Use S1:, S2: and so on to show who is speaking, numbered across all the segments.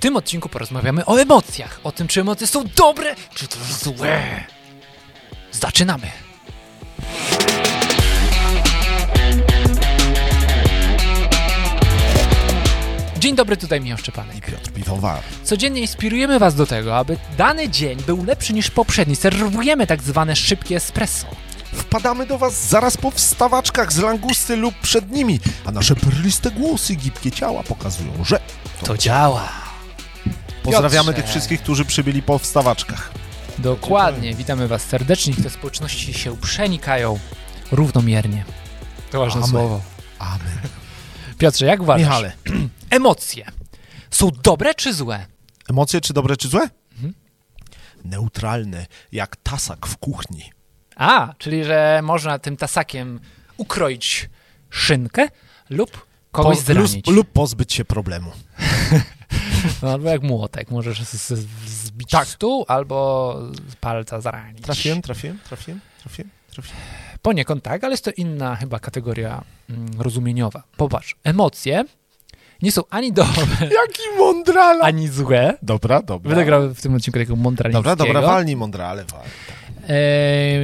S1: tym odcinku porozmawiamy o emocjach, o tym, czy emocje są dobre, czy też złe. Zaczynamy! Dzień dobry, tutaj Michał Szczepanek.
S2: i Piotr Piwowar.
S1: Codziennie inspirujemy Was do tego, aby dany dzień był lepszy niż poprzedni. Serwujemy tak zwane szybkie espresso.
S2: Wpadamy do Was zaraz po wstawaczkach z langusty lub przed nimi, a nasze perliste głosy i gibkie ciała pokazują, że...
S1: To działa.
S2: Pozdrawiamy
S1: Piotrze.
S2: tych wszystkich, którzy przybyli po wstawaczkach.
S1: Dokładnie, witamy Was serdecznie. Niech te społeczności się przenikają równomiernie. To ważne
S2: Amen.
S1: słowo.
S2: Amen.
S1: Piotrze, jak uważasz?
S2: Michale,
S1: Emocje są dobre czy złe?
S2: emocje czy dobre, czy złe? Neutralne, Mhm. jak tasak w kuchni.
S1: A, czyli że można tym tasakiem ukroić szynkę lub kogoś
S2: Po- lub,
S1: zranić.
S2: lub pozbyć się problemu.
S1: No, albo jak młotek, możesz z, z, zbić
S2: Tak.
S1: stół albo z palca zranić.
S2: Trafiłem, trafiłem, trafiłem, trafiłem, trafiłem.
S1: Poniekąd tak, ale jest to inna chyba kategoria mm, rozumieniowa. Popatrz, emocje nie są ani dobre,
S2: Jaki mądrala!
S1: ani złe.
S2: Dobra, dobra.
S1: Będę grał w tym odcinku takiego mądralińskiego.
S2: Dobra, dobra, walnij mądrale, walnij.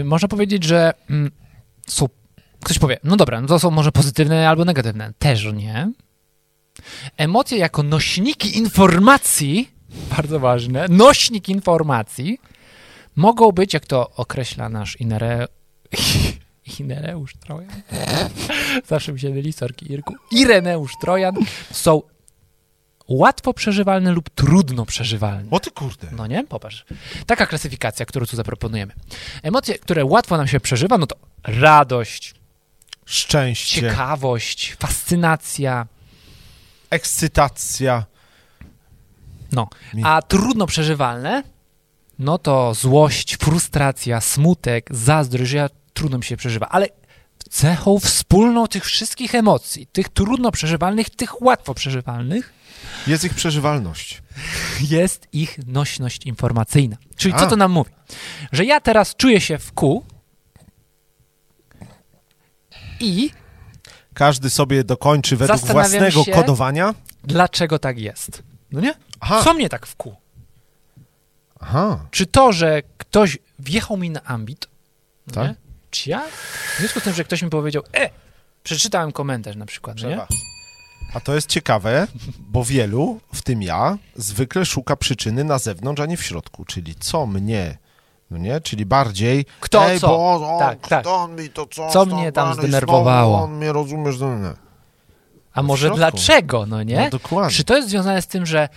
S1: E, można powiedzieć, że mm, są... Ktoś powie, no dobra, no to są może pozytywne albo negatywne. Też nie. Emocje jako nośniki informacji, bardzo ważne, nośnik informacji, mogą być, jak to określa nasz inere... Ireneusz Trojan. Zawsze mi się myli, sorki Irku. Ireneusz Trojan są łatwo przeżywalne lub trudno przeżywalne.
S2: O ty kurde.
S1: No nie? Popatrz. Taka klasyfikacja, którą tu zaproponujemy. Emocje, które łatwo nam się przeżywa, no to radość,
S2: Szczęście,
S1: ciekawość, fascynacja.
S2: ekscytacja.
S1: No.
S2: Mi-
S1: A trudno przeżywalne, no to złość, frustracja, smutek, zazdrość, że ja trudno mi się przeżywa. Ale cechą wspólną tych wszystkich emocji, tych trudno przeżywalnych, tych łatwo przeżywalnych,
S2: Jest ich przeżywalność.
S1: jest ich nośność informacyjna. Czyli co
S2: A.
S1: to nam mówi? Że ja teraz czuję się w kół i
S2: Każdy sobie dokończy według
S1: Zastanawiam
S2: własnego
S1: się-
S2: kodowania.
S1: dlaczego tak jest? No nie?
S2: Aha.
S1: Co mnie tak w kół?
S2: Aha.
S1: Czy to, że ktoś wjechał mi na ambit? No
S2: Tak.
S1: nie? Czy ja? W związku z tym, że ktoś mi powiedział, e, przeczytałem komentarz na przykład, no nie?
S2: Trzeba. A to jest ciekawe, bo wielu, w tym ja, zwykle szuka przyczyny na zewnątrz, a nie w środku. Czyli co mnie, no nie? Czyli bardziej...
S1: Kto
S2: Ej,
S1: co?
S2: Bo on,
S1: Tak, tak.
S2: kto on mi to co?
S1: Co
S2: stąd
S1: mnie tam
S2: dalej,
S1: zdenerwowało?
S2: znowu On mnie rozumiesz, no nie.
S1: A może
S2: środku.
S1: dlaczego, no nie?
S2: No dokładnie.
S1: Czy to jest związane z tym, że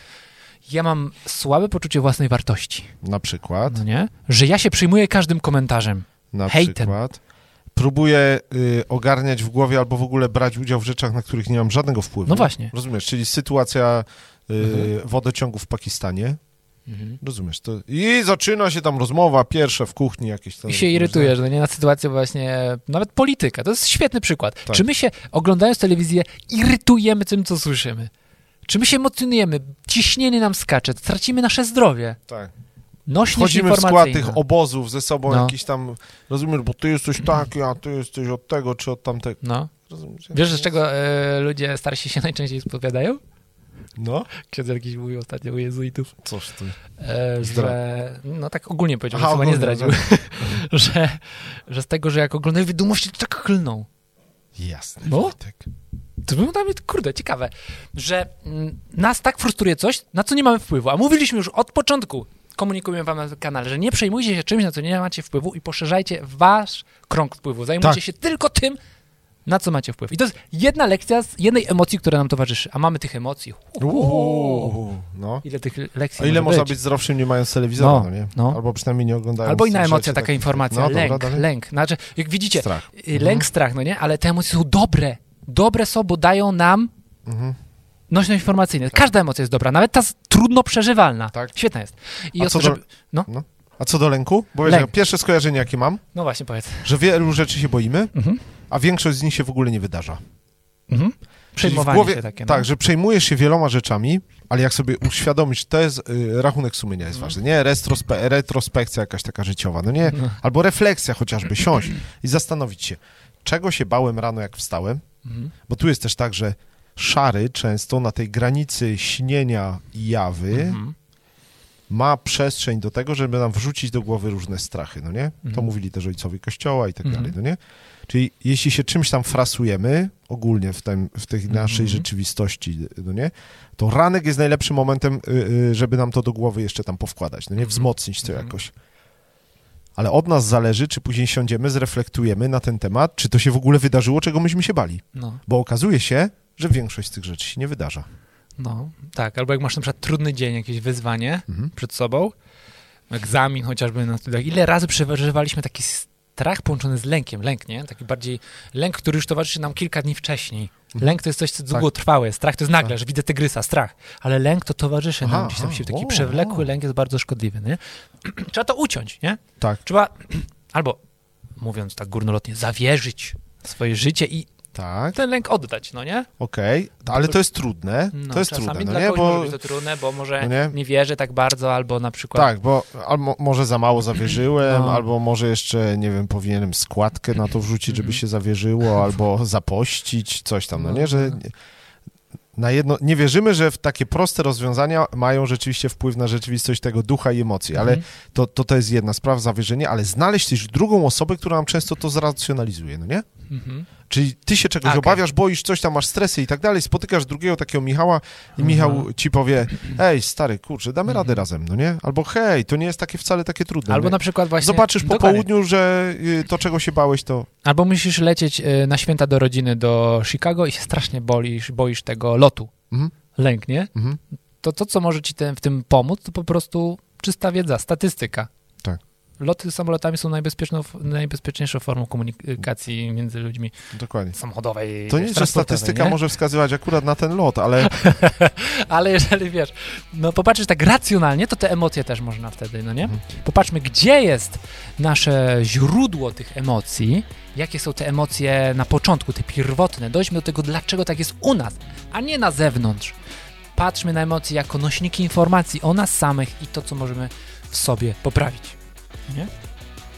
S1: ja mam słabe poczucie własnej wartości,
S2: Na przykład.
S1: no nie? Że ja się przyjmuję każdym komentarzem.
S2: Na
S1: Hejtem.
S2: przykład. Próbuję y, ogarniać w głowie albo w ogóle brać udział w rzeczach, na których nie mam żadnego wpływu.
S1: No właśnie.
S2: Rozumiesz, czyli sytuacja y,
S1: Mhm.
S2: wodociągu w Pakistanie. Rozumiesz, to... I zaczyna się tam rozmowa pierwsza w kuchni jakieś tam.
S1: I się irytujesz, no nie na sytuację właśnie, e, nawet polityka, to jest świetny przykład.
S2: Tak.
S1: Czy my się, oglądając telewizję, irytujemy tym, co słyszymy? Czy my się emocjonujemy, ciśnienie nam skacze, tracimy nasze zdrowie?
S2: Tak.
S1: Nośność
S2: Wchodzimy w skład
S1: informacyjna.
S2: tych obozów ze sobą,
S1: No.
S2: jakiś tam, rozumiesz, bo ty jesteś taki, a ty jesteś od tego czy od tamtego.
S1: No.
S2: Rozumiesz?
S1: Wiesz, z czego e, ludzie starsi się najczęściej spowiadają?
S2: No,
S1: Ksiądz jakiś mówił ostatnio u jezuitów,
S2: coś ty.
S1: e, że... No tak ogólnie powiedział,
S2: Aha,
S1: Aha, chyba nie
S2: ogólnie,
S1: zdradził. że, że z tego, że jak oglądają wiadomości, to tak klną.
S2: Jasne.
S1: No.
S2: Wojtek.
S1: To było dla mnie, kurde, ciekawe, że mm, nas tak frustruje coś, na co nie mamy wpływu. A mówiliśmy już od początku, komunikujemy wam na kanale, że nie przejmujcie się czymś, na co nie macie wpływu i poszerzajcie wasz krąg wpływu. Zajmujcie
S2: Tak.
S1: się tylko tym, na co macie wpływ. I to jest jedna lekcja z jednej emocji, która nam towarzyszy. A mamy tych emocji. Uuu.
S2: Uuu, No.
S1: Ile tych lekcji
S2: A ile
S1: może
S2: można być zdrowszym nie mając telewizora,
S1: No,
S2: no, nie?
S1: no.
S2: Albo przynajmniej nie oglądając.
S1: Albo inna
S2: rzeczy
S1: emocja, taka
S2: takich.
S1: informacja.
S2: No,
S1: lęk,
S2: dobra, dalej.
S1: lęk. Znaczy, jak widzicie,
S2: Strach.
S1: y, lęk,
S2: Mhm.
S1: strach, no nie? Ale te emocje są dobre. Dobre są, bo dają nam
S2: Mhm.
S1: nośność informacyjną. Każda emocja jest dobra, nawet ta z- trudno przeżywalna.
S2: Tak.
S1: Świetna jest. I
S2: A
S1: od-
S2: co do-
S1: żeby... no,
S2: No. A co do lęku? Bo wiesz,
S1: Lęk.
S2: ja pierwsze skojarzenie, jakie mam,
S1: no właśnie, powiedz.
S2: że wielu rzeczy się boimy,
S1: Mhm.
S2: a większość z nich się w ogóle nie wydarza.
S1: Mhm.
S2: Czyli
S1: Przejmowanie się takie. No.
S2: Tak, że przejmujesz się wieloma rzeczami, ale jak sobie uświadomisz, to jest y, rachunek sumienia jest ważny, nie? Retrospe, retrospekcja jakaś taka życiowa, no nie?
S1: No.
S2: Albo refleksja chociażby, siąść i zastanowić się, czego się bałem rano, jak wstałem,
S1: Mhm.
S2: bo tu jest też tak, że szary często na tej granicy śnienia i jawy
S1: Mhm.
S2: ma przestrzeń do tego, żeby nam wrzucić do głowy różne strachy, no nie? To
S1: Mhm.
S2: mówili też ojcowie Kościoła i tak
S1: Mhm.
S2: dalej, no nie? Czyli jeśli się czymś tam frasujemy, ogólnie w, tym, w tej naszej
S1: Mhm.
S2: rzeczywistości, no nie? To ranek jest najlepszym momentem, y, y, żeby nam to do głowy jeszcze tam powkładać, no nie? Wzmocnić to
S1: Mhm.
S2: jakoś. Ale od nas zależy, czy później siądziemy, zreflektujemy na ten temat, czy to się w ogóle wydarzyło, czego myśmy się bali.
S1: No,
S2: Bo okazuje się, że większość z tych rzeczy się nie wydarza.
S1: no, tak. Albo jak masz na przykład trudny dzień, jakieś wyzwanie
S2: Mhm.
S1: przed sobą, egzamin chociażby na studiach. Ile razy przeżywaliśmy taki strach połączony z lękiem? Lęk, nie? Taki bardziej lęk, który już towarzyszy nam kilka dni wcześniej.
S2: Mhm.
S1: Lęk to jest coś, co
S2: Tak.
S1: długotrwałe. Strach to jest nagle,
S2: Tak.
S1: że widzę tygrysa, strach. Ale lęk to towarzyszy nam
S2: Aha,
S1: gdzieś tam
S2: aha,
S1: się. Taki
S2: o,
S1: przewlekły
S2: o.
S1: lęk jest bardzo szkodliwy, nie? Trzeba to uciąć, nie?
S2: Tak.
S1: Trzeba albo, mówiąc tak górnolotnie, zawierzyć swoje życie i
S2: Tak.
S1: ten lęk oddać, no nie?
S2: Okej, to- ale to jest trudne.
S1: Tak, No,
S2: to jest
S1: czasami
S2: trudne, no
S1: dla
S2: nie?
S1: kogoś może
S2: Bo,
S1: być to trudne, bo może
S2: no
S1: nie?
S2: nie?
S1: wierzy tak bardzo, albo na przykład...
S2: tak, bo albo może za mało zawierzyłem,
S1: No.
S2: albo może jeszcze, nie wiem, powinienem składkę na to wrzucić, żeby
S1: Mhm.
S2: się zawierzyło, albo zapościć, coś tam, no
S1: No,
S2: nie? Że
S1: no.
S2: nie- na jedno, nie wierzymy, że w takie proste rozwiązania mają rzeczywiście wpływ na rzeczywistość tego ducha i emocji, Tak, ale
S1: Mhm.
S2: to, to, to jest jedna sprawa, zawierzenie, ale znaleźć też drugą osobę, która nam często to zracjonalizuje, no nie?
S1: Mhm.
S2: Czyli ty się czegoś
S1: Okej.
S2: obawiasz, boisz, coś tam masz stresy i tak dalej, spotykasz drugiego takiego Michała i Michał ci powie, ej stary, kurczę, damy
S1: Mhm.
S2: radę razem, no nie? Albo hej, to nie jest takie wcale takie trudne.
S1: Albo
S2: nie?
S1: na przykład właśnie...
S2: Zobaczysz po
S1: Dokładnie.
S2: południu, że y, to czego się bałeś, to
S1: Albo musisz lecieć y, na święta do rodziny do Chicago i się strasznie boisz, boisz tego lotu.
S2: Mhm.
S1: Lęk, nie?
S2: mhm.
S1: To, to, co może ci ten, w tym pomóc, to po prostu czysta wiedza, statystyka.
S2: Tak.
S1: Loty samolotami są najbezpieczną, najbezpieczniejszą formą komunikacji między ludźmi
S2: dokładnie.
S1: samochodowej.
S2: To nie, że
S1: transportowej,
S2: statystyka
S1: nie?
S2: może wskazywać akurat na ten lot, ale
S1: Ale jeżeli wiesz, no popatrzysz tak racjonalnie, to te emocje też można wtedy, no nie?
S2: Mhm.
S1: Popatrzmy, gdzie jest nasze źródło tych emocji, jakie są te emocje na początku, te pierwotne. Dojdźmy do tego, dlaczego tak jest u nas, a nie na zewnątrz. Patrzmy na emocje jako nośniki informacji o nas samych i to, co możemy w sobie poprawić.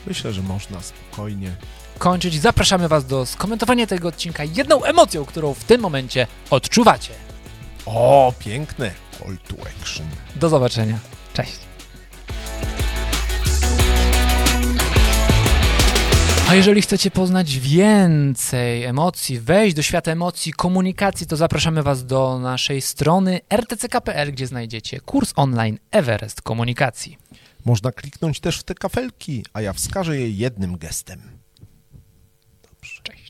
S2: myślę, że można spokojnie.
S1: Kończyć, zapraszamy Was do skomentowania tego odcinka jedną emocją, którą w tym momencie odczuwacie.
S2: O, piękne. Call to action.
S1: Do zobaczenia. Cześć. A jeżeli chcecie poznać więcej emocji, wejść do świata emocji, komunikacji, to zapraszamy Was do naszej strony rtck.pl, gdzie znajdziecie kurs online Everest Komunikacji.
S2: Można kliknąć też w te kafelki, a ja wskażę je jednym gestem.
S1: Cześć.